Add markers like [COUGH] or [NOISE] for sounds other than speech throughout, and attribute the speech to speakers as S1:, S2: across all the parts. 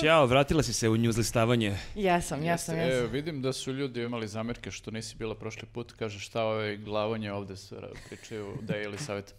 S1: Ćao, vratila si se u njuzlistavanje.
S2: Jesam, jesam,
S3: Jeste,
S2: jesam.
S3: E, vidim da su ljudi imali zamerke što nisi bila prošli put. Kaže šta ovaj glavonje ovde se ra- pričaju da je ili
S1: [LAUGHS]
S3: savjet.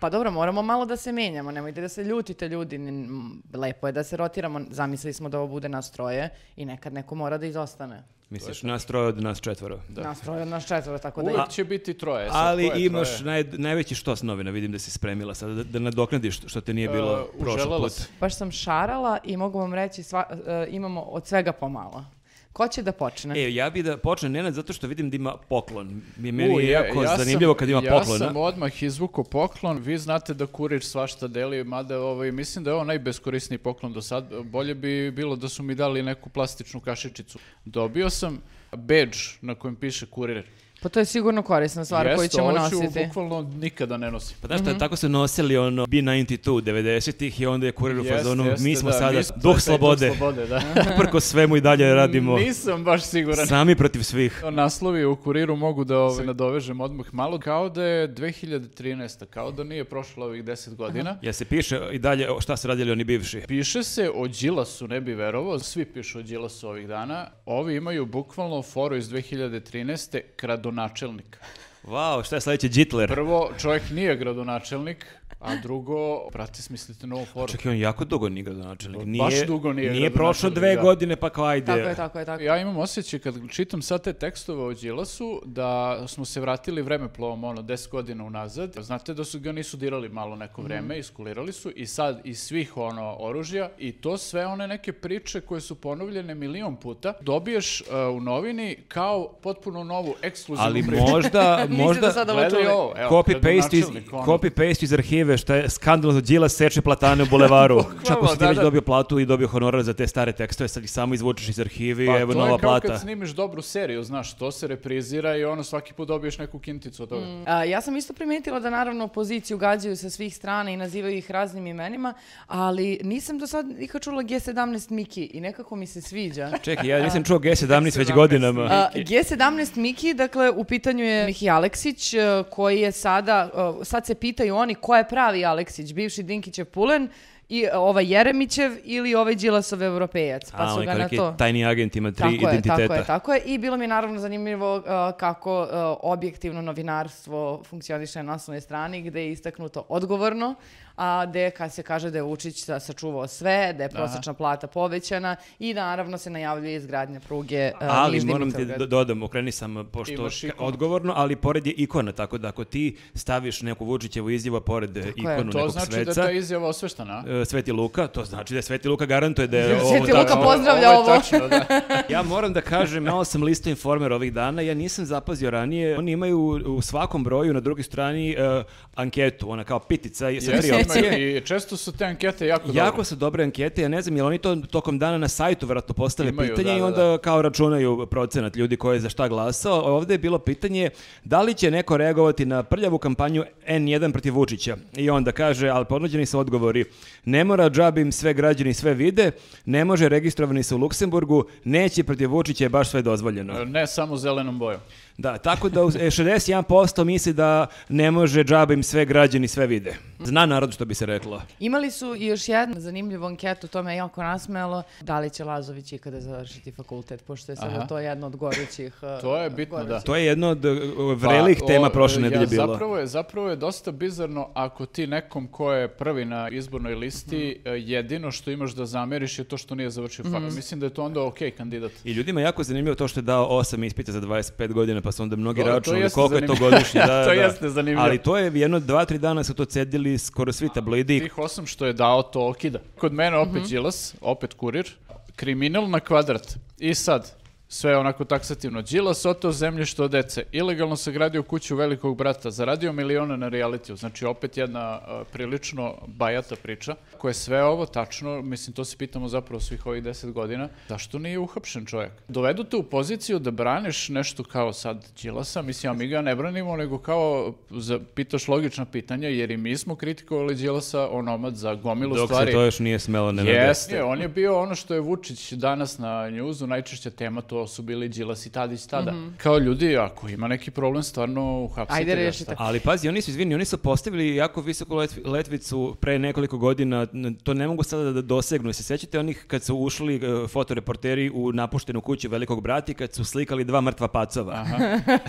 S2: Pa dobro, moramo malo da se menjamo, nemojte da se ljutite ljudi. N- m, Lepo je da se rotiramo, zamislili smo da ovo bude nas troje i nekad neko mora da izostane.
S1: Misliš, nas troje od nas četvoro.
S3: Da.
S2: Nas troje od nas četvora, tako da...
S3: Uvijek će biti troje. e, sad,
S1: Pa Ali
S3: ko je
S1: imaš
S3: troje?
S1: naj, najveći štos novina, vidim da si spremila sada, da, da nadoknadiš što te nije bilo
S3: E,
S1: prošli
S3: uželela
S1: put.
S3: si.
S2: Baš sam šarala i mogu vam reći, sva, e, imamo od svega pomalo. Ko će da počne?
S1: E, ja bi da počne Nenad zato što vidim da ima poklon. Mi- Meni
S3: U,
S1: je
S3: ja-
S1: jako
S3: ja sam-
S1: zanimljivo kad ima
S3: Ja
S1: poklona.
S3: sam odmah izvuko poklon. Vi znate da kurir svašta deli, mada ovaj, mislim da je ovo najbeskorisniji poklon do sad. Bolje bi bilo da su mi dali neku plastičnu kašičicu. Dobio sam badge na kojem piše kurir.
S2: Pa to je sigurno korisna stvar koju
S3: Jeste,
S2: ćemo
S3: ovo ću
S2: nositi.
S3: bukvalno nikada ne nosim.
S1: Pa znaš šta, tako su nosili ono B92 90-ih i onda je kurir u
S3: Jeste,
S1: fazonu, mi
S3: jeste,
S1: smo
S3: da,
S1: sada
S3: mi smo- to je
S1: duh
S3: taj
S1: slobode,
S3: Duh slobode, da.
S1: prko svemu i dalje [LAUGHS] radimo
S3: Nisam baš siguran.
S1: sami protiv svih.
S3: Naslovi u kuriru mogu da ovaj, se nadovežem odmah malo, kao da je 2013. kao da nije prošlo ovih 10 godina.
S1: Ja se piše i dalje o, šta su radili oni bivši.
S3: Piše se o Đilasu, ne bi verovao, svi pišu o Đilasu ovih dana. Ovi imaju bukvalno foru iz 2013. kradonačelnik.
S1: Wow, šta je sledeće, Hitler?
S3: Prvo, čovjek nije gradonačelnik, a drugo, prati smislite novu foru.
S1: Čekaj, on jako dugo nije gradonačelnik. Nije,
S3: Baš dugo nije
S1: prošlo
S3: gradonačelnik,
S1: dve
S3: da.
S1: godine, pa kao ajde.
S2: Tako je, tako je, tako je.
S3: Ja imam osjećaj kad čitam sad te tekstove o Đilasu da smo se vratili vremeplovom ono 10 godina unazad. Znate da su ga nisu dirali malo neko
S1: Mhm.
S3: vreme, iskulirali su i sad iz svih ono oružja i to sve one neke priče koje su ponovljene milion puta dobiješ uh, u novini kao potpuno novu ekskluzivnu
S1: Ali
S3: priču.
S2: [LAUGHS]
S1: možda,
S2: Niste do
S1: možda
S2: sada
S3: Gledaj
S2: ovo čuli.
S3: ovo, evo,
S1: copy paste iz
S3: gradonačelnik, ono.
S1: copy paste iz arhive šta je skandal od Đila seče platane u
S3: [LAUGHS]
S1: bulevaru. Čak si ti
S3: da,
S1: već
S3: da.
S1: dobio platu i dobio honorar za te stare tekstove, sad ih samo izvučeš iz arhive i
S3: Pa,
S1: evo
S3: to
S1: nova
S3: je kao
S1: plata.
S3: kad snimiš dobru seriju, znaš, to se reprizira i ono svaki put dobiješ neku kinticu od toga.
S1: Mm.
S2: A, ja sam isto primetila da naravno opoziciju gađaju sa svih strana i nazivaju ih raznim imenima, ali nisam do sad nikad čula G17 Miki i nekako mi se sviđa.
S1: [LAUGHS] Čekaj, ja nisam čuo G17 već godinama.
S2: A, G17 Miki, dakle, u pitanju je Miki Aleksić, e, koji je sada, e, sad se pitaju oni ko je pravi Aleksić, bivši Dinkićev Pulen i e, ovaj Jeremićev ili ovaj Đilasov europejac, pa
S1: A,
S2: su
S1: on je
S2: ga
S1: kao
S2: na
S1: neki
S2: to.
S1: tajni agent, ima tri
S2: tako je,
S1: identiteta.
S2: tako je, tako je. I bilo mi je naravno zanimljivo uh, kako uh, objektivno novinarstvo funkcioniše na naslovnoj strani, gde je istaknuto odgovorno, a gde kad se kaže da je Vučić sa- sačuvao sve, da je prosječna plata povećana i naravno se najavljuje izgradnja pruge uh,
S1: ali
S2: Niš
S1: moram ti
S2: Dimitrovgrad.
S1: da dodam, okreni sam, eh, pošto
S3: Imaš ikonu.
S1: odgovorno, ali pored je ikona, tako da ako ti staviš neku Vučićevu izjavu a pored e,
S2: je.
S1: ikonu
S3: To
S1: nekog
S3: znači da
S1: sveca,
S3: ta izjava osveštana.
S1: e, Sveti Luka, to znači da je Sveti Luka garantuje da
S3: [LAUGHS]
S1: je ovo
S2: Sveti
S1: tako.
S2: Luka pozdravlja
S3: je
S2: ovo.
S3: tačno, da.
S1: Ja moram da kažem, malo sam listo informer ovih dana, ja nisam zapazio ranije, oni imaju u svakom broju na drugoj strani e, anketu, ona kao pitica i- sa tri
S3: Jeste,
S1: opcije.
S3: ima i često su te ankete jako,
S1: Jako
S3: dobre.
S1: su dobre ankete, ja ne znam, jel oni to tokom dana na sajtu vjerojatno postave
S3: Imaju,
S1: pitanje
S3: da,
S1: i
S3: da,
S1: onda kao računaju procenat ljudi koji je za šta glasao. Ovdje je bilo pitanje da li će neko reagovati na prljavu kampanju N1 protiv Vučića. I onda kaže, ali ponuđeni su odgovori, ne mora džabim sve građani sve vide, ne može registrovani su u Luksemburgu, neće protiv Vučića je baš sve dozvoljeno.
S3: Ne samo zelenom bojom.
S1: Da, tako da uz- e, 61% misli da ne može džabim sve građani sve vide. Zna narod što bi se reklo.
S2: Imali su i još jednu zanimljivu anketu, to me je jako nasmejalo, da li će Lazović ikada završiti fakultet, pošto je sada
S3: Aha.
S2: to jedno od gorućih... uh,
S3: To je bitno, da.
S1: To je jedno od e, vrelih
S3: Pa, o,
S1: tema prošle
S3: ja,
S1: nedelje bilo.
S3: Zapravo je, zapravo je dosta bizarno ako ti nekom ko je prvi na izbornoj listi, eh, jedino što imaš da zameriš je to što nije završio fakat. Mislim da je to onda okej kandidat.
S1: I ljudima je jako zanimljivo to što je dao osam ispita za 25 godina, pa su onda mnogi
S3: Dobro, to
S1: računali
S3: jeste
S1: koliko je to
S3: zanimljivo.
S1: godišnje. Da,
S3: [LAUGHS] To
S1: da.
S3: jeste zanimljivo.
S1: Ali to je jedno, dva, tri dana su to cedili skoro svi tablidi.
S3: Tih osam što je dao, to okida. Kod mene opet Đilas, opet kurir, kriminal na kvadrat. I sad, sve onako taksativno. Đilas oteo zemljište od dece, ilegalno sagradio kuću velikog brata, zaradio milione na realitiju. Znači, opet jedna a, prilično bajata priča, koja je sve ovo tačno, mislim, to se pitamo zapravo svih ovih deset godina, zašto nije uhapšen čovjek? Dovedu te u poziciju da braniš nešto kao sad Đilasa, mislim, a mi ga ne branimo, nego kao za- pitaš logična pitanja, jer i mi smo kritikovali Đilasa onomad za gomilu
S1: Dok
S3: stvari.
S1: se to još nije smelo ne
S3: Jeste, on je bio ono što je Vučić danas na njuzu, najčešća tema, to to su bili Đilas i Tadić tada. Kao ljudi, ako ima neki problem, stvarno uhapsite
S2: Mhm. Ajde,
S3: ga.
S2: rešite.
S1: Ali pazi, oni su, izvini, oni su postavili jako visoku letv- letvicu pre nekoliko godina, n- to ne mogu sada da dosegnu. Se sjećate onih kad su ušli e, fotoreporteri u napuštenu kuću Velikog brati, kad su slikali dva mrtva pacova.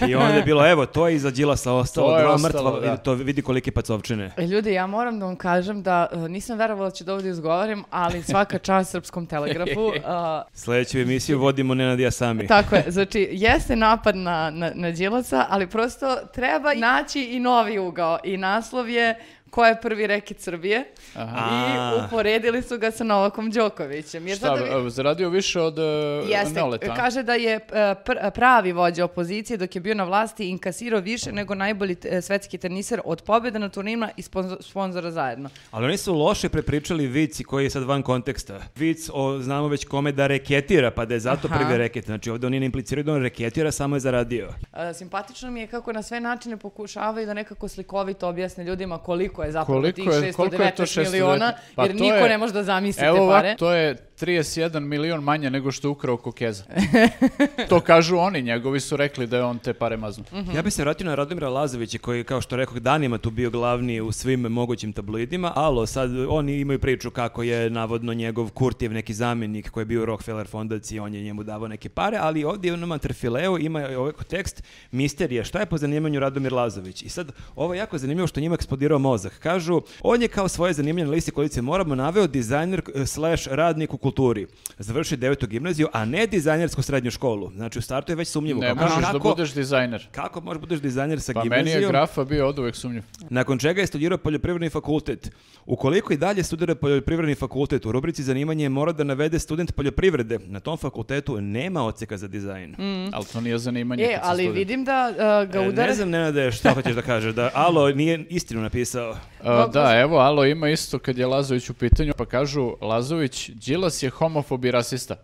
S1: I onda je bilo, evo, to je iza Đilasa ostalo,
S3: To je
S1: dva
S3: ostalo,
S1: mrtva,
S3: da.
S1: i to vidi kolike pacovčine.
S2: E, Ljudi, ja moram da vam kažem da e, nisam verovala da ću da ovdje izgovarim, ali svaka čast Srpskom
S3: [LAUGHS]
S2: telegrafu. e,
S1: Sljedeću emisiju vodimo Nenad i ja sami.
S2: Tako je, znači jeste napad na, na, na Đilasa, ali prosto treba naći i novi ugao i naslov je ko je prvi reket Srbije i
S1: A.
S2: uporedili su ga sa Novakom Đokovićem. Jer
S3: Šta,
S2: sada vi-
S3: e, zaradio više od e,
S2: Jeste,
S3: Noleta?
S2: kaže da je e, pr- pravi vođa opozicije dok je bio na vlasti inkasirao više nego najbolji e, svetski teniser od pobjeda na turnirima i sponzo- sponzora zajedno.
S1: Ali oni su loše prepričali vici koji je sad van konteksta. Vic o, znamo već kome da reketira, pa da je zato
S2: Aha.
S1: prvi reket. Znači ovdje oni ne impliciraju da on reketira, samo je zaradio.
S2: E, Simpatično mi je kako na sve načine pokušavaju da nekako slikovito objasne ljudima koliko je zapravo
S3: Koliko
S2: tih
S3: je-
S2: 619
S3: koliko je to 619?
S2: miliona,
S3: Pa
S2: jer
S3: to
S2: niko
S3: je-
S2: ne može da zamisli te
S3: Evo ovako,
S2: pare.
S3: to je 31 milion manje nego što je ukrao Kokeza. [LAUGHS] to kažu oni, njegovi su rekli da je on te pare maznu.
S1: Ja bih se vratio na Radomira Lazovića koji, kao što rekoh, danima tu bio glavni u svim mogućim tabloidima. Alo, sad oni imaju priču kako je navodno njegov Kurtijev neki zamjenik koji je bio u Rockefeller fondaciji, on je njemu davao neke pare, ali ovdje u onom antrefileu ima ovako tekst Misterija, šta je po zanimanju Radomir Lazović? I sad, ovo je jako zanimljivo što njima eksplodirao mozak. Kažu, on je kao svoje zanimanje na listi kolice moramo naveo dizajner eh, slash radnik u kulturi. Završio devetu gimnaziju, a ne dizajnersku srednju školu. Znači, u startu je već sumnjivo.
S3: Ne
S1: Kao,
S3: možeš da
S1: kako-
S3: budeš dizajner.
S1: kako možeš budeš dizajner sa
S3: Pa meni je
S1: gimnazijom,
S3: grafa bio od uvek sumnjiv.
S1: nakon čega je studirao poljoprivredni fakultet. Ukoliko i dalje studira poljoprivredni fakultet, u rubrici zanimanje mora da navede student poljoprivrede. Na tom fakultetu nema odseka za dizajn.
S3: Ali to nije zanimanje.
S2: E,
S3: kad si
S2: ali
S3: student.
S2: vidim da uh, Mm, ga
S1: E,
S2: udara...
S1: ne znam, Nenade, šta hoćeš da kažeš, da Alo nije istinu napisao.
S3: A, da, evo, alo, ima isto kad je Lazović u pitanju, pa kažu, Lazović, Đilas je homofob
S2: [LAUGHS]
S3: i rasista.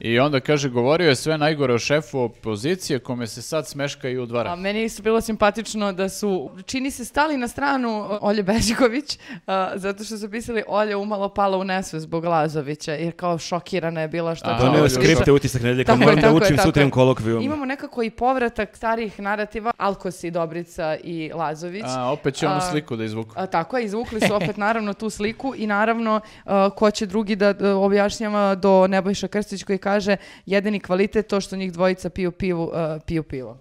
S3: I onda kaže, govorio je sve najgore o šefu opozicije, kome se sad smeška i
S2: A
S3: udvara.
S2: meni je isto bilo simpatično da su, čini se, stali na stranu Olje Bežiković, a, zato što su pisali Olja umalo pala u nesve zbog Lazovića, jer kao šokirana je bila što
S3: Aha,
S2: to...
S3: Doneo
S1: Doneo
S3: Oljoša.
S1: skripte utisak nedelje, kao
S2: Tako je,
S1: moram da
S2: tako je,
S1: učim
S2: tako
S1: sutra
S2: je.
S1: imam kolokvijum.
S2: Imamo nekako i povratak starih narativa, Alkosi, Dobrica i Lazović.
S3: A, opet će onu
S2: A,
S3: sliku da izvuku.
S2: A, tako je, izvukli su opet naravno tu sliku i naravno a, ko će drugi da e, objašnjava do Nebojša Krstić koji kaže jedini kvalitet to što njih dvojica piju pivu, e, piju pivo.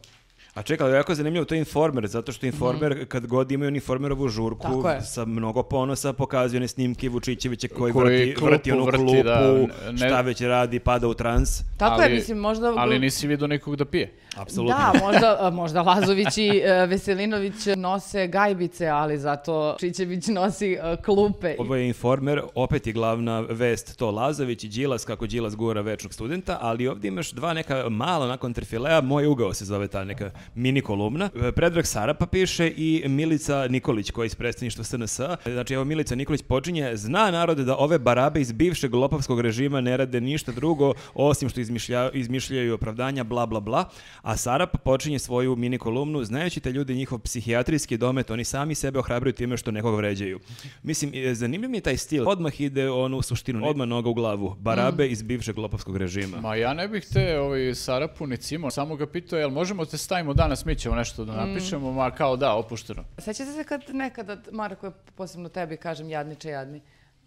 S1: A čekaj, ali jako je zanimljivo, to je informer, zato što informer, kad god imaju uniformerovu žurku,
S2: Mhm. Tako je.
S1: sa mnogo ponosa pokazuje one snimke Vučićevića koji,
S3: Koji
S1: vrti,
S3: klupu
S1: vrti onu
S3: vrti,
S1: klupu,
S3: da, ne-
S1: šta već radi, pada u trans.
S2: Tako
S3: ali,
S2: je, mislim, možda...
S3: Ali nisi vidio nikog da pije.
S1: Apsolutno.
S2: Da, možda, a, možda Lazović i e, Veselinović nose gajbice, ali zato Čičević nosi e, klupe.
S1: Ovo je informer, opet je glavna vest to Lazović i Đilas, kako Đilas gura večnog studenta, ali ovdje imaš dva neka mala nakon trfilea, moj ugao se zove ta neka mini kolumna. E, Predrag Sarapa piše i Milica Nikolić koja je iz predstavništva SNS. Znači evo Milica Nikolić počinje, zna narode da ove barabe iz bivšeg lopovskog režima ne rade ništa drugo osim što izmišlja, izmišljaju opravdanja bla bla bla, a Sarap počinje svoju mini kolumnu znajući te ljudi njihov psihijatrijski domet, oni sami sebe ohrabruju time što nekog vređaju. Mislim, e, zanimljiv mi je taj stil. Odmah ide ono u suštinu, odmah noga u glavu. Barabe iz bivšeg lopovskog režima.
S3: Ma ja ne bih te ovaj, Sarapu ni Cimo, samo ga pitao, jel možemo te stavimo danas, mi ćemo nešto
S2: Mm.
S3: da napišemo, ma kao da, opušteno.
S2: Sećate se kad nekada, Marko, posebno tebi kažem jadniče jadni,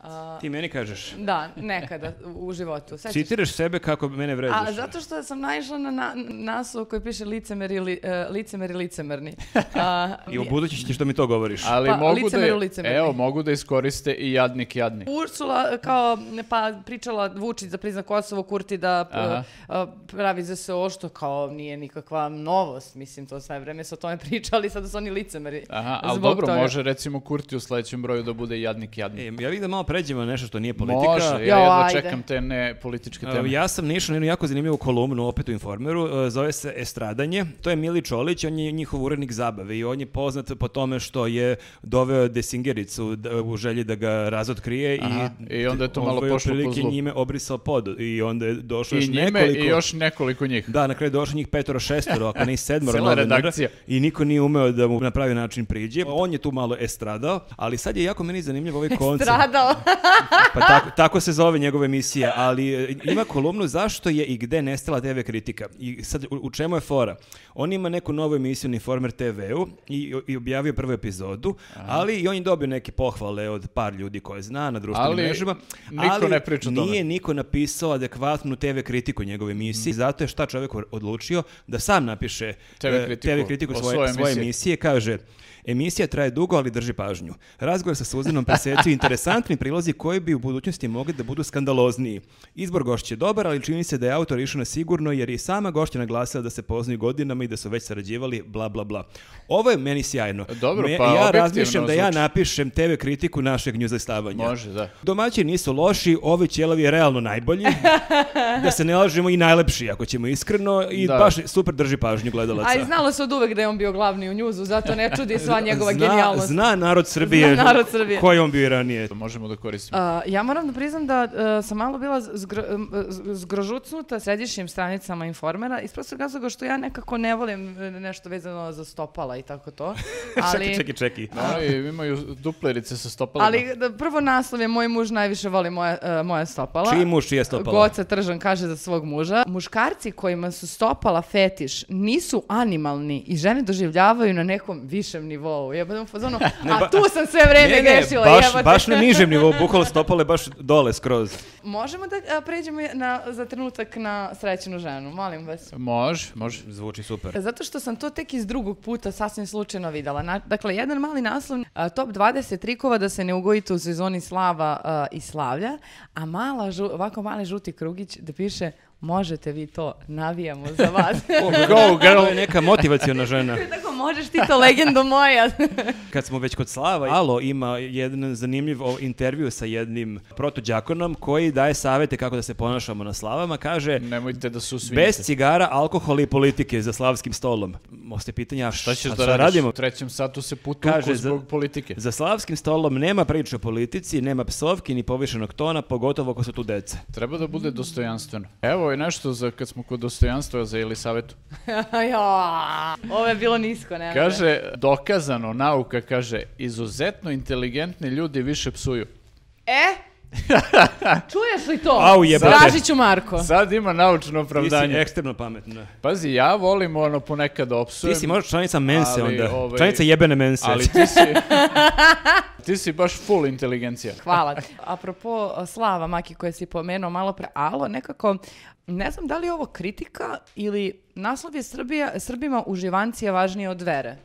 S2: A,
S1: Ti meni kažeš,
S2: da, nekada u u životu. Sećaš se?
S1: citiraš sebe kako mene vređaš.
S2: Znači- A zato što sam naišla na, na naslov koji piše licemeri, li, e, licemeri
S1: [LAUGHS]
S2: licemerni. A,
S1: I u budući ćeš da mi to govoriš.
S3: Ali
S2: Pa,
S3: mogu da,
S2: licemeru, licemeru.
S3: evo, mogu da iskoriste i jadnik jadni.
S2: Ursula e, kao ne, pa pričala Vučić da prizna Kosovo, Kurti da p-
S3: Aha.
S2: a, pravi ZSO što kao nije nikakva novost, mislim to sve vreme su o tome pričali, sada su oni licemeri.
S3: Aha, ali
S2: zbog
S3: dobro,
S2: toga.
S3: može recimo Kurti u sledećem broju da bude jadnik jadni.
S1: E, ja vidim da malo pređemo na nešto što nije politika.
S3: Može, ja
S2: Jao,
S3: jedva
S2: ajde.
S3: čekam te ne političke teme.
S1: E, Ja sam naišao na jednu jako zanimljivu kolumnu opet u Informeru, e, zove se Estradanje. To je Mili Čolić, on je njihov urednik zabave i on je poznat po tome što je doveo Desingericu d- u želji da ga razotkrije
S3: Aha,
S1: i,
S3: i onda je to malo
S1: ovaj,
S3: pošlo po
S1: otprilike
S3: zlu.
S1: njime obrisao pod i onda je došlo
S3: I
S1: još
S3: njime
S1: nekoliko
S3: i još nekoliko njih.
S1: Da, na kraju je došlo njih petoro, šestoro, ako ne i sedmoro
S3: [LAUGHS] Cela
S1: novinara
S3: redakcija.
S1: i niko nije umeo da mu na pravi način priđe. On je tu malo estradao, ali sad je jako meni zanimljiv ovaj koncept.
S2: Stradao.
S1: Pa tako, tako se zove njegova emisija, ali e, ima kolumnu zašto je i gde nestala TV kritika. I sad, u, u čemu je fora? On ima neku novu emisiju na Informer TV-u i, i objavio prvu epizodu, ali i on je dobio neke pohvale od par ljudi koje zna na društvenim
S3: Ali
S1: mrežama.
S3: niko ne priča o tome.
S1: nije niko napisao adekvatnu TV kritiku njegove emisije, zato je šta čovjek odlučio da sam napiše
S3: TV
S1: e,
S3: kritiku
S1: TV kritiku
S3: o
S1: svoje,
S3: svojoj
S1: svoje
S3: emisiji.
S1: emisije, kaže Emisija traje dugo, ali drži pažnju. Razgovor sa Suzanom presećuju
S3: [LAUGHS]
S1: interesantni prilozi koji bi u budućnosti mogli da budu skandalozniji. Izbor gošće je dobar, ali čini se da je autor išao na sigurno jer je i sama gošća naglasila da se poznaju godinama i da su već sarađivali, bla, bla, bla. Ovo je meni sjajno.
S3: Dobro, pa
S1: ja
S3: objektivno
S1: razmišljam da ja
S3: zvuči.
S1: napišem TV kritiku našeg newslistavanja.
S3: Može, da.
S1: Domaći nisu loši, ovi ćelavi je realno
S3: [LAUGHS]
S1: najbolji. da se ne lažemo i najlepši, ako ćemo iskreno. I
S3: Da.
S1: baš super drži pažnju gledalaca.
S2: A i znalo se od uvek da je on bio glavni u njuzu, zato ne čudi sva njegova
S1: Pa zna,
S2: genijalnost.
S1: Zna narod Srbije,
S2: Zna narod Srbije.
S1: koji on bio i ranije.
S3: Možemo da koristimo.
S2: A, ja moram da priznam da e, sam malo bila zgr- m, z- zgrožucnuta središnjim stranicama Informera iz prostog razloga što ja nekako ne volim e, nešto vezano za stopala i tako
S1: [LAUGHS]
S2: to.
S1: čeki,
S2: Ali,
S1: čeki, čeki.
S3: Da, i imaju duplerice sa stopalima.
S2: ali da, prvo naslov je Moj muž najviše voli moja, e, moja stopala.
S1: Čiji muž je stopala?
S2: Goca Tržan kaže za svog muža. Muškarci kojima su stopala fetiš nisu animalni i žene doživljavaju na nekom višem nivou. Jebate u
S1: [LAUGHS]
S2: fazonu,
S1: ba-
S2: a tu sam sve vreme grešila.
S1: baš,
S2: jebote."
S1: baš na nižem nivou, bukvalo stopale baš dole skroz.
S2: Možemo da a, pređemo na, za trenutak na srećenu ženu, molim vas.
S3: Može, može.
S1: Zvuči super.
S2: Zato što sam to tek iz drugog puta sasvim slučajno videla. Na- dakle, jedan mali naslov, a, top 20 trikova da se ne ugojite u sezoni slava a, i slavlja, a mala, žu- ovako mali žuti krugić da piše možete vi to, navijamo za vas.
S1: Go girl! To je neka motivaciona žena.
S2: Tako možeš ti to, legendo moja. [LAUGHS]
S1: Kad smo već kod Slava, Alo ima jedan zanimljiv o- intervju sa jednim protođakonom koji daje savete kako da se ponašamo na Slavama. Kaže,
S3: Nemojte da se usvinjete.
S1: bez cigara, alkohola i politike za slavskim stolom. Ostaje pitanja, šta
S3: Šta ćeš
S1: a
S3: da
S1: šta
S3: radiš?
S1: radimo?
S3: U trećem satu se putuku
S1: Kaže, za-
S3: zbog politike.
S1: Za slavskim stolom nema priče o politici, nema psovki ni povišenog tona, pogotovo ako su tu deca.
S3: Treba da bude dostojanstveno. Evo je nešto za kad smo kod dostojanstva za Elisavetu.
S2: ja, ovo je bilo nisko, ne?
S3: Kaže, dokazano, nauka kaže, izuzetno inteligentni ljudi više psuju.
S2: E? Čuješ li to?
S1: Au, jebote.
S2: Tražit ću Marko.
S3: Sad ima naučno
S1: Ti si e-
S3: opravdanje.
S1: ekstremno pametna.
S3: Pazi, ja volim ono ponekad da opsujem.
S1: Ti si možda članica mense
S3: ali,
S1: onda.
S3: ovaj,
S1: Članica jebene mense.
S3: Ali ti si... [LAUGHS] ti si baš full inteligencija.
S2: Hvala. Apropo a, Slava Maki koje si pomenuo malo pre, alo, nekako, ne znam da li je ovo kritika ili naslov je Srbija, Srbima uživancija važnije od vere.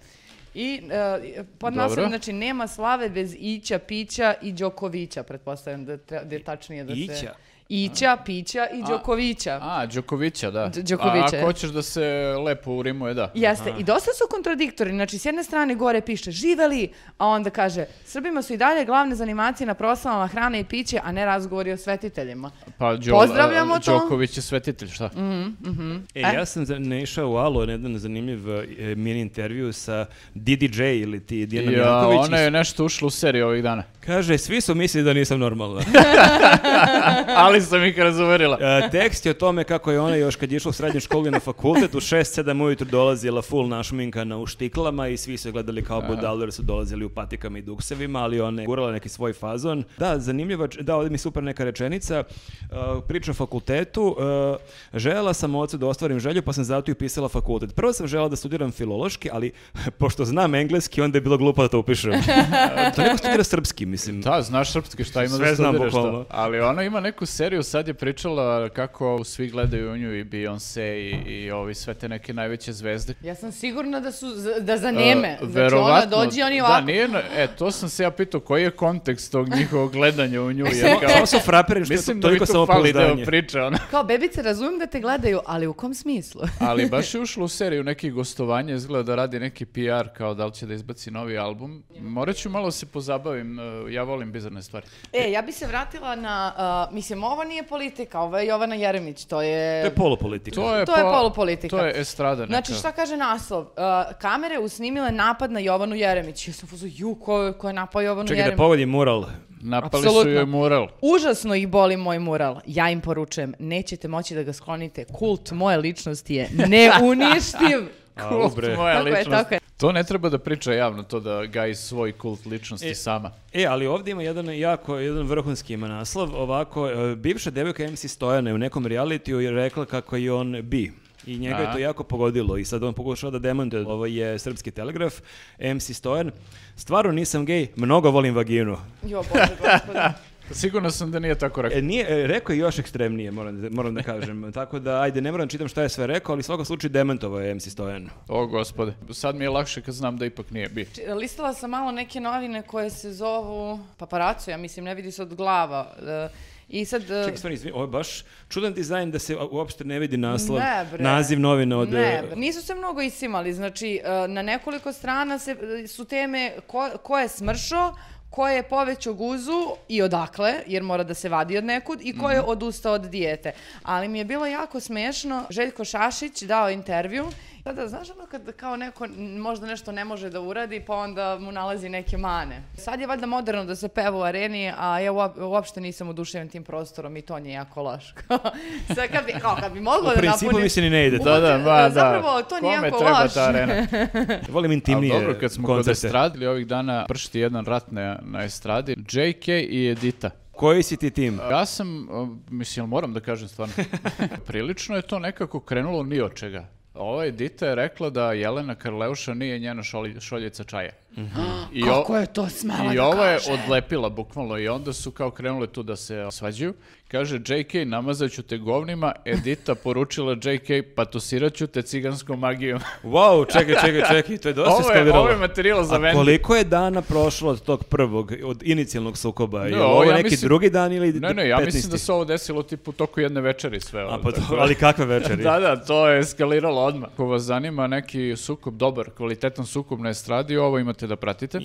S2: I e, pod
S3: Dobro.
S2: naslovom, znači, nema slave bez ića, pića i Đokovića, pretpostavljam da, tre- da je tačnije da se...
S1: Ića?
S2: Ića, pića i Đokovića.
S3: A, Đokovića, da.
S2: Đ- Đokovića,
S3: A
S2: je.
S3: ako hoćeš da se lepo urimuje, da.
S2: Jeste, i dosta su kontradiktori. Znači, s jedne strane gore piše živeli, a onda kaže Srbima su i dalje glavne zanimacije na proslavama hrana i piće, a ne razgovori o svetiteljima.
S3: Pa, Đo,
S2: Pozdravljamo
S3: a,
S2: to.
S3: Đoković je svetitelj, šta?
S1: E, ja sam za- naišao u Alo na jedan zanimljiv e, mini intervju sa DDJ ili ti Dijana
S3: Ja,
S1: Milanković.
S3: ona je nešto ušla u seriju ovih dana.
S1: Kaže, svi su mislili da nisam normalna.
S3: [LAUGHS] Ali sam ih razuverila.
S1: E, tekst je o tome kako je ona još kad je išla u srednju školu i na fakultet, u 6-7 ujutru dolazila full našminkana u štiklama i svi su je gledali kao budale jer su dolazili u patikama i duksevima, ali ona je gurala neki svoj fazon. Da, zanimljiva, da, ovdje mi je super neka rečenica, e, priča o fakultetu, e, željela sam ocu da ostvarim želju pa sam zato i upisala fakultet. Prvo sam željela da studiram filološki, ali [LAUGHS] pošto znam engleski onda je bilo glupo da to
S3: [LAUGHS]
S1: upišem. E, to neko studira srpski, mislim.
S3: Da, znaš srpski, šta ima
S1: Sve
S3: da
S1: znam,
S3: studiraš
S1: bukvalno.
S3: to. Ali ona ima neku seriju, sad je pričala kako svi gledaju u nju i Beyoncé i, i ovi sve te neke najveće zvezde.
S2: Ja sam sigurna da su z- da zaneme.
S3: E,
S2: znači ona dođe i oni ovako.
S3: Da, nije, na- e, to sam se ja pitao, koji je kontekst tog njihovog
S2: [LAUGHS]
S3: gledanja u nju?
S2: E,
S3: Jer kao,
S1: Samo su fraperi što je to,
S3: mislim da mi
S1: toliko
S3: tu fali deo
S1: samopouzdanje.
S3: priče, ona.
S2: Kao bebice, razumijem da te gledaju, ali u kom smislu?
S3: Ali baš je ušla u seriju nekih gostovanja, izgleda da radi neki PR kao da li će da izbaci novi album. Morat ću malo se pozabavim, e, ja volim bizarne stvari.
S2: [LAUGHS] e, ja bi se vratila na... a, mislim, ovo nije politika, ovo je Jovana Jeremić, to je...
S1: To je polupolitika.
S2: To je polupolitika.
S3: To je estrada neka.
S2: Znači, šta kaže naslov? Uh, kamere usnimile napad na Jovanu Jeremić. Ja sam fuzo, ju, ko, je- ko je napao Jovanu
S1: Čekaj da
S2: Jeremić?
S1: pogodim mural.
S3: Napali su
S2: Apsolutno.
S3: joj mural.
S2: Užasno ih boli moj mural. Ja im poručujem, nećete moći da ga sklonite. Kult moje ličnosti je neuništiv.
S1: A, u bre.
S3: Moja
S2: tako je,
S3: ličnost.
S2: tako je.
S3: To ne treba da priča javno, to da gaji svoj kult ličnosti sama.
S1: E, ali ovdje ima jedan jako, jedan vrhunski ima naslov, ovako, e, bivša devojka MC Stojana je u nekom realitiju je rekla kako je on bi. I njega je
S3: A.
S1: to jako pogodilo i sad on pokušava da demantuje. Ovo je srpski telegraf, MC Stojan. Stvarno nisam gej, mnogo volim vaginu.
S2: Jo, bože, gospode.
S3: Sigurno sam da nije tako rekao.
S1: E, nije, e, rekao je još ekstremnije, moram, da- moram da kažem. [LAUGHS] Tako da, ajde, ne moram da čitam šta je sve rekao, ali u svakom slučaju demantovao je MC Stojan.
S3: O, gospode. Sad mi je lakše kad znam da ipak nije bio.
S2: Či- Listala sam malo neke novine koje se zovu paparacu, ja mislim, ne vidi se od glava. e, I sad... e,
S1: Čekaj, stvarno, izvini, ovo je baš čudan dizajn da se u- uopšte ne vidi naslov,
S2: Ne, bre.
S1: naziv novina od...
S2: Ne,
S1: e,
S2: bre, nisu se mnogo isimali, znači e, na nekoliko strana se, e, su teme ko, ko je smršao, ko je povećao guzu i odakle, jer mora da se vadi od nekud, i ko je
S1: Mhm.
S2: odustao od dijete. Ali mi je bilo jako smešno, Željko Šašić dao je intervju, Sada, znaš ono kad kao neko n- možda nešto ne može da uradi, pa onda mu nalazi neke mane. Sad je valjda moderno da se peva u areni, a ja uop- uopšte nisam oduševljen tim prostorom i to nije jako loš. [LAUGHS] Sad kad bi, kao kad bi moglo
S1: U
S2: da
S1: principu
S2: napuni-
S1: mi se ni ne ide.
S2: U
S3: Da, da,
S2: Uopće, e,
S3: ba, da.
S2: zapravo, to nije
S3: Kome
S2: jako
S3: treba
S2: loš.
S3: ta arena?
S1: Volim
S3: Ali
S1: intimnije
S3: dobro, kad smo kod
S1: koncerte.
S3: estradili ovih dana pršti jedan rat na, na estradi, JK i Edita.
S1: Koji si ti tim?
S3: Ja sam, a, mislim, moram da kažem
S2: [LAUGHS]
S3: stvarno, prilično je to nekako krenulo ni od čega. Ova Edita je rekla da Jelena Karleuša nije njena šolj- šoljica čaja. I o-
S2: Mhm. [GASPS] Kako je to smela
S3: I
S2: da
S3: ovo je
S2: kaže?
S3: odlepila bukvalno i onda su kao krenule tu da se svađaju. Kaže JK namazat ću te govnima, Edita poručila JK patusirat ću te ciganskom magijom.
S1: Wow, čekaj, čekaj, čekaj, to je dosta
S3: ovo, je,
S1: eskaliralo.
S3: ovo je materijal za
S1: A
S3: vendi.
S1: koliko je dana prošlo od tog prvog, od inicijalnog sukoba? je
S3: Ne,
S1: li
S3: ovo
S1: ovo
S3: ja
S1: neki
S3: mislim-
S1: drugi dan ili
S3: Ne, ne, ja
S1: 15.
S3: mislim da se ovo desilo tipu u toku jedne večeri sve.
S1: A
S3: ovo,
S1: pa to-
S3: tako da-
S1: ali kakve večeri?
S3: Da, da, to je eskaliralo odmah. Ako vas zanima neki sukob, dobar, kvalitetan sukob na estradi, ovo imate da pratite.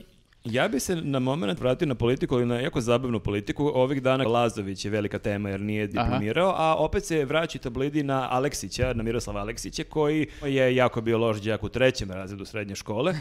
S1: Ja bi se na moment vratio na politiku, ali na jako zabavnu politiku. Ovih dana Lazović je velika tema jer nije diplomirao, a opet se vraćaju tablidi na Aleksića, na Miroslava Aleksića, koji je jako bio loš đak u trećem razredu srednje škole.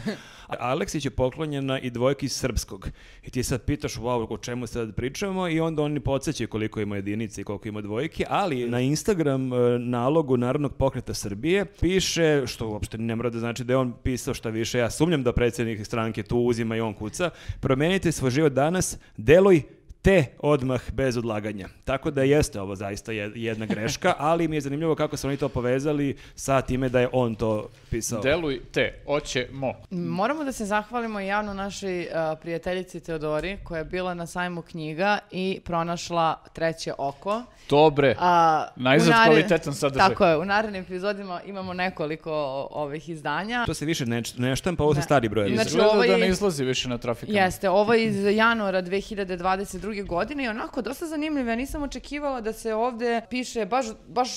S1: A Aleksić je poklonjena i dvojki srpskog. I ti sad pitaš, wow, o čemu sad pričamo i onda oni podsjećaju koliko ima jedinica i koliko ima dvojki, ali na Instagram e, nalogu Narodnog pokreta Srbije piše, što uopšte ne mora da znači da je on pisao šta više, ja sumnjam da predsjednik stranke tu uzima i on kuca, promenite svoj život danas, deluj te odmah bez odlaganja. Tako da jeste ovo zaista je-
S3: [LAUGHS]
S1: jedna greška, ali mi je zanimljivo kako su oni to povezali sa time da je on to pisao.
S3: Deluj te, oće mo.
S2: Moramo da se zahvalimo javno našoj uh, prijateljici Teodori koja je bila na sajmu knjiga i pronašla treće oko.
S3: Dobre,
S2: A,
S3: Najzad
S2: u nared-
S3: kvalitetan sadržaj.
S2: Tako je, u narednim epizodima imamo nekoliko o- ovih izdanja.
S1: To se više ne, ne štampa, ovo su
S2: Ne.
S1: stari brojevi.
S2: Znači,
S3: izgleda
S2: ovo
S3: da
S2: je-
S3: ne izlazi više na trafikama.
S2: Jeste, ovo je iz januara 2022. godine i onako dosta zanimljivo. Ja nisam očekivala da se ovde piše baš, baš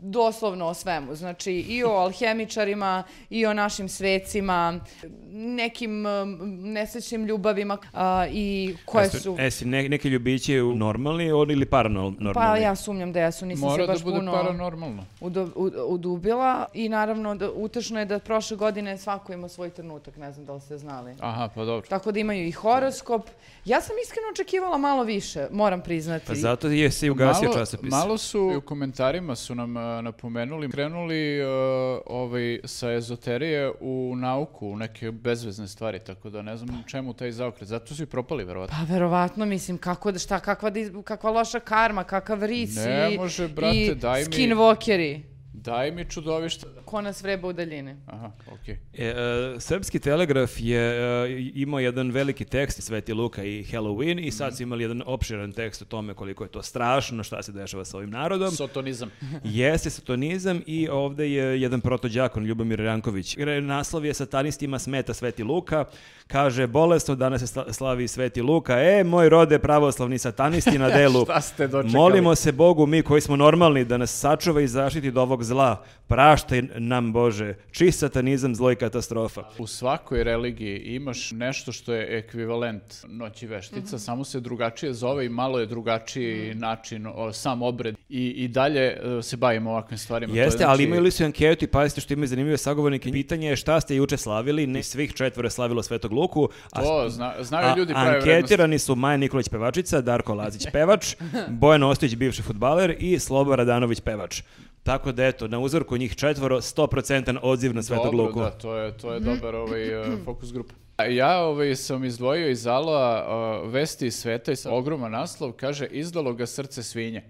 S2: doslovno o svemu. Znači i o alhemičarima, i o našim svecima, nekim um, nesrećnim ljubavima a, i koje su...
S1: E, si ne, neki ljubići u normalni on ili paranormalni?
S2: Pa ja sumnjam da jesu, nisam
S3: Mora
S2: se baš
S3: da bude
S2: puno
S3: paranormalno.
S2: udo- u- udubila i naravno da, utešno je da prošle godine svako ima svoj trenutak, ne znam da li ste znali.
S3: Aha, pa dobro.
S2: Tako da imaju i horoskop. Ja sam iskreno očekivala malo više, moram priznati.
S1: Pa zato je se i ugasio
S3: Malo-
S1: časopis.
S3: Malo su i u komentarima su nam e, napomenuli, krenuli e, ovaj, sa ezoterije u nauku, u neke bezvezne stvari, tako da ne znam čemu taj zaokret. Zato su i propali, verovatno.
S2: Pa verovatno, mislim, kako, da- šta, kakva, dis- kakva loša karma, kakav ris
S3: Ne
S2: i,
S3: može, brate,
S2: i
S3: daj mi-
S2: skinwalkeri.
S3: Daj mi čudovište.
S2: Ko nas vreba u daljini.
S3: Aha, okej.
S1: E, e, srpski telegraf je e, imao jedan veliki tekst Sveti Luka i Halloween i
S3: Mhm.
S1: sad su imali jedan opširan tekst o tome koliko je to strašno, šta se dešava sa ovim narodom.
S3: Sotonizam.
S1: Jeste satanizam i ovde je jedan protođakon Ljubomir Ranković. Gre- Naslov je satanistima smeta Sveti Luka. Kaže, bolesno danas se sla- slavi Sveti Luka. E, moj rode pravoslavni satanisti
S3: [LAUGHS]
S1: na delu.
S3: Šta ste dočekali?
S1: Molimo se Bogu mi koji smo normalni da nas sačuva i zaštiti od ovog zla. Praštaj nam Bože. Čist satanizam, zlo i katastrofa.
S3: U svakoj religiji imaš nešto što je ekvivalent noći veštica, samo se drugačije zove i malo je drugačiji način, o, sam obred. I, i dalje e, se bavimo ovakvim stvarima. To je,
S1: Jeste, ali
S3: znači,
S1: imaju li su i anketu i pazite što imaju zanimljive sagovornike. Pitanje je šta ste juče slavili, ne svih četvore slavilo Svetog Luku, a
S3: To zna, znaju ljudi prave vrednosti.
S1: anketirani su Maja Nikolić pevačica, Darko Lazić pevač, Bojan Ostojić bivši futbaler i Slobo Radanović pevač. Tako da eto, na uzorku njih četvoro 100% odziv na Svetog
S3: Dobro,
S1: Luku.
S3: da, to je, to je dobar ovaj, e, fokus grupa. A Ja ovaj, sam izdvojio iz Aloa e, vesti iz sveta i sa- ogroman naslov, kaže izdalo ga srce svinje.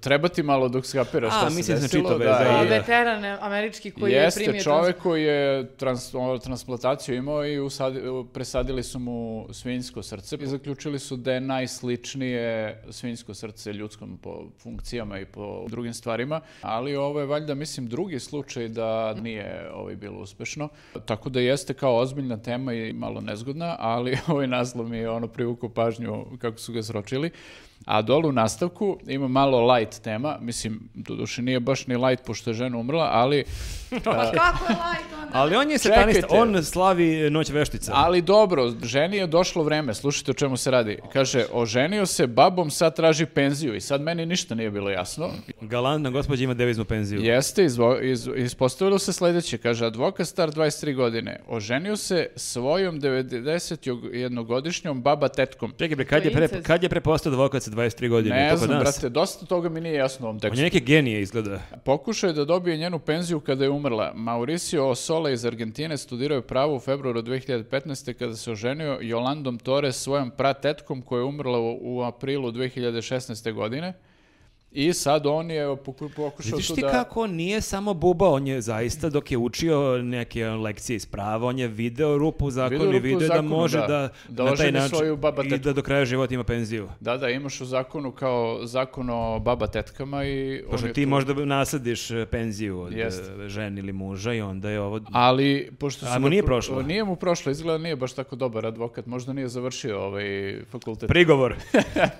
S3: Treba ti malo dok skapiraš
S1: A,
S3: šta se
S1: mislim da sam
S3: desilo.
S1: čitao vest, da,
S3: i-
S1: da.
S2: Veteran e, američki koji je
S3: Jeste
S2: primio...
S3: čovjek koji je trans, ono, transplantaciju imao i usadi- presadili su mu svinjsko srce i zaključili su da je najsličnije svinjsko srce ljudskom po funkcijama i po drugim stvarima, ali ovo je valjda mislim drugi slučaj da nije ovaj bilo uspešno. Tako da jeste kao ozbiljna tema i malo nezgodna, ali [LAUGHS] ovaj naslov mi je ono privukao pažnju kako su ga sročili. A dolu u nastavku ima malo light tema, mislim, doduše nije baš ni light pošto je žena umrla, ali
S2: Pa kako je light onda?
S1: Ali on je
S3: Čekajte.
S1: satanista, on slavi Noć veštica.
S3: Ali dobro, ženi je došlo vreme, slušajte o čemu se radi. Kaže, oženio se babom, sad traži penziju i sad meni ništa nije bilo jasno.
S1: Galantna gospođa ima deviznu penziju.
S3: Jeste, izvo- iz- ispostavilo se sledeće, kaže, advokat star 23 godine, oženio se svojom 91-godišnjom baba tetkom.
S1: Čekaj bre, kad
S2: To
S1: je,
S2: je
S1: pre,
S2: incest.
S1: kad je prepostao advokat sa 23 godine?
S3: Ne
S1: To kod
S3: znam,
S1: nas?
S3: brate, dosta toga mi nije jasno u ovom
S1: On
S3: tekstu.
S1: je neke genije izgleda.
S3: Pokušao je da dobije njenu penziju kada je umrla. Mauricio Osola iz Argentine studirao je pravo u februaru 2015. kada se oženio Jolandom Torres svojom pratetkom koja je umrla u, u aprilu 2016. godine. I sad on je poku- pokušao
S1: Vidiš
S3: tu
S1: ti
S3: da...
S1: kako on nije samo buba, on je zaista dok je učio neke lekcije iz prava, on je video rupu u zakonu
S3: Video
S1: i
S3: rupu u
S1: video da
S3: zakonu,
S1: može
S3: da.
S1: da,
S3: Da
S1: na taj
S3: oženi
S1: način
S3: svoju baba
S1: i
S3: tetku.
S1: da do kraja života ima penziju.
S3: Da, da, imaš u zakonu kao zakon o baba tetkama i... on
S1: Pošto
S3: je
S1: ti
S3: tu.
S1: možda naslediš e, penziju od
S3: Jeste.
S1: e, žene ili muža i onda je ovo...
S3: Ali, pošto
S1: A
S3: su
S1: mu
S3: ga
S1: nije
S3: pro-
S1: prošlo?
S3: Nije mu prošlo, izgleda nije baš tako dobar advokat, možda nije završio ovaj fakultet. [LAUGHS]
S1: Prigovor.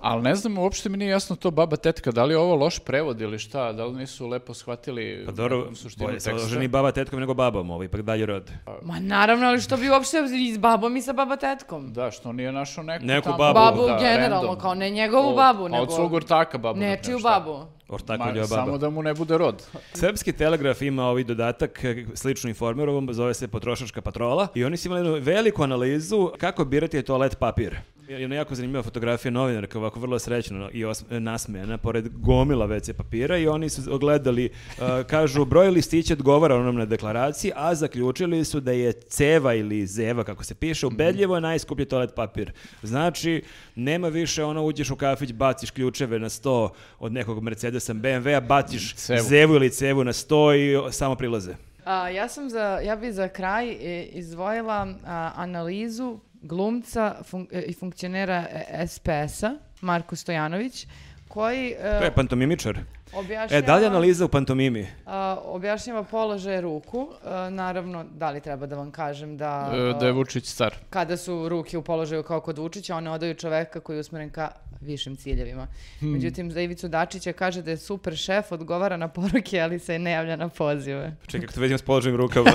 S3: Ali ne znam, uopšte mi nije jasno to baba tetka, da li je ovo loš prevod ili šta, da li nisu lepo shvatili
S1: Pa dobro,
S3: neku suštinu
S1: bolje se
S3: teksta?
S1: oženi baba tetkom nego babom, ovo ipak dalje rod.
S2: Ma naravno, ali što bi uopšte i s babom i sa babatetkom?
S3: Da, što nije našao neku,
S1: Neku
S3: tamo-
S1: babu.
S2: Babu
S3: Da,
S2: generalno,
S3: random.
S2: kao ne njegovu
S3: Od-
S2: babu,
S3: a Od
S2: nego
S3: svog ortaka babu. na
S2: nečiju
S3: primer, šta?
S2: babu.
S1: Ortako
S3: Ma,
S1: ljua baba.
S3: Samo da mu ne bude rod.
S1: Srpski telegraf ima ovaj dodatak e, slično informerovom, zove se potrošačka patrola i oni su imali jednu veliku analizu kako birati toalet papir. Jedna jako zanimljiva fotografija novinarka, ovako vrlo srećna i os- nasmejana, pored gomila WC papira i oni su ogledali, e, kažu, broj listića odgovara onom na deklaraciji, a zaključili su da je ceva ili zeva, kako se piše, ubedljivo je najskuplji toalet papir. Znači, nema više ono, uđeš u kafić, baciš ključeve na sto od nekog Mercedesa, BMW-a, baciš
S3: Cevu.
S1: zevu ili cevu na sto i o, samo prilaze.
S2: A, ja sam za, ja bi za kraj e, izdvojila a, analizu glumca fun- e, i funkcionera e, SPS-a, Marko Stojanović, koji e,
S1: To je pantomimičar. E,
S2: Pa objašnjava...
S1: da li je analiza u pantomimi?
S2: A, objašnjava položaj ruku. A, naravno, da li treba da vam kažem Pa, da...
S3: E, Da je Vučić star.
S2: a, kada su ruke u položaju kao kod Vučića, one odaju čoveka koji je usmeren ka višim ciljevima.
S3: Hmm.
S2: Međutim, za Ivicu Dačića kaže da je super šef, odgovara na poruke, ali se ne javlja na pozive.
S1: Čekaj, kako to vezim s položajem [LAUGHS] rukama.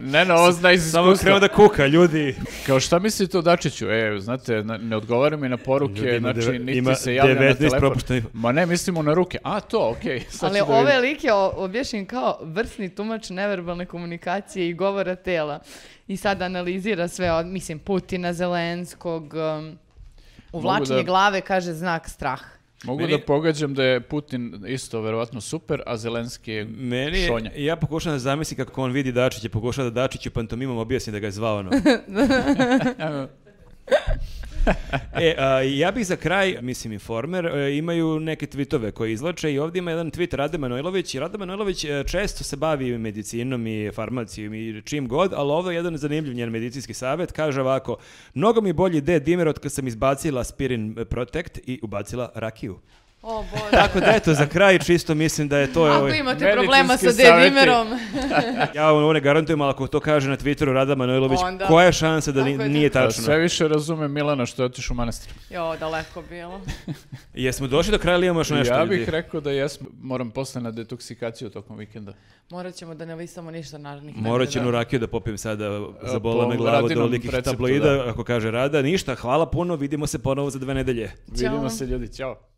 S3: Ne, ne, ovo zna iz
S1: samo
S3: iskustva.
S1: kreo da kuka, ljudi.
S3: Kao šta mislite o Dačiću? E, znate, na- ne odgovara mi na poruke,
S1: Ljudi, ima
S3: znači
S1: deve-
S3: niti
S1: ima
S3: se javlja na
S1: 19
S3: telefon.
S1: propuštenih-
S3: Ma ne, mislimo na ruke. A, to, okej. sad
S2: Ali
S3: ću da vidim.
S2: ove like objašnjen kao vrsni tumač neverbalne komunikacije i govora tela. I sad analizira sve, od, mislim, Putina, Zelenskog, um, uvlačenje
S3: da-
S2: glave, kaže znak strah.
S3: Mogu
S1: Meni-
S3: da pogađam da je Putin isto verovatno super, a
S1: [LAUGHS]
S3: Zelenski je
S1: Meni, je-
S3: šonja.
S1: ja pokušam da zamislim kako on vidi Dačića, pokušam da Dačiću pantomimom objasni da ga je zvao ono. e, a, ja bih za kraj, mislim informer, e, imaju neke tweetove koje izlače i ovdje ima jedan tweet Rade Manojlović. I Rade Manojlović e, često se bavi medicinom i farmacijom i čim god, ali ovo je jedan zanimljiv njen medicinski savjet. Kaže ovako, mnogo mi bolji ide dimer od kad sam izbacila aspirin Protect i ubacila rakiju.
S2: O
S3: [LAUGHS]
S2: bože.
S1: Tako da eto, za kraj čisto mislim da je to...
S2: Ako
S1: ovaj,
S2: imate
S3: medicinski
S2: problema sa
S3: saveti.
S2: dedimerom,
S1: Ja vam ovo ne garantujem, ali ako to kaže na Twitteru Rada Manojlović,
S2: Onda-
S1: koja je šansa da ni-
S2: Tako je to.
S1: nije
S3: Da,
S1: tačno?
S3: Sve više razume Milana što je otišao u manastir.
S2: jo, daleko bilo.
S1: Jesmo došli do kraja ili imamo još nešto?
S3: ja bih
S1: ljudi?
S3: rekao da jesmo. Moram posle na detoksikaciju tokom vikenda.
S2: Morat ćemo da ne lisamo ništa narednih
S1: Morat ću
S2: nedelja.
S1: jednu rakiju da popijem sada za
S3: E,
S1: bola
S3: po
S1: me glavu do
S3: Radinom
S1: velikih
S3: receptu,
S1: tabloida,
S3: da.
S1: ako kaže Rada. Ništa, hvala puno, vidimo se ponovo za dve nedelje.
S3: Vidimo se ljudi, ćao.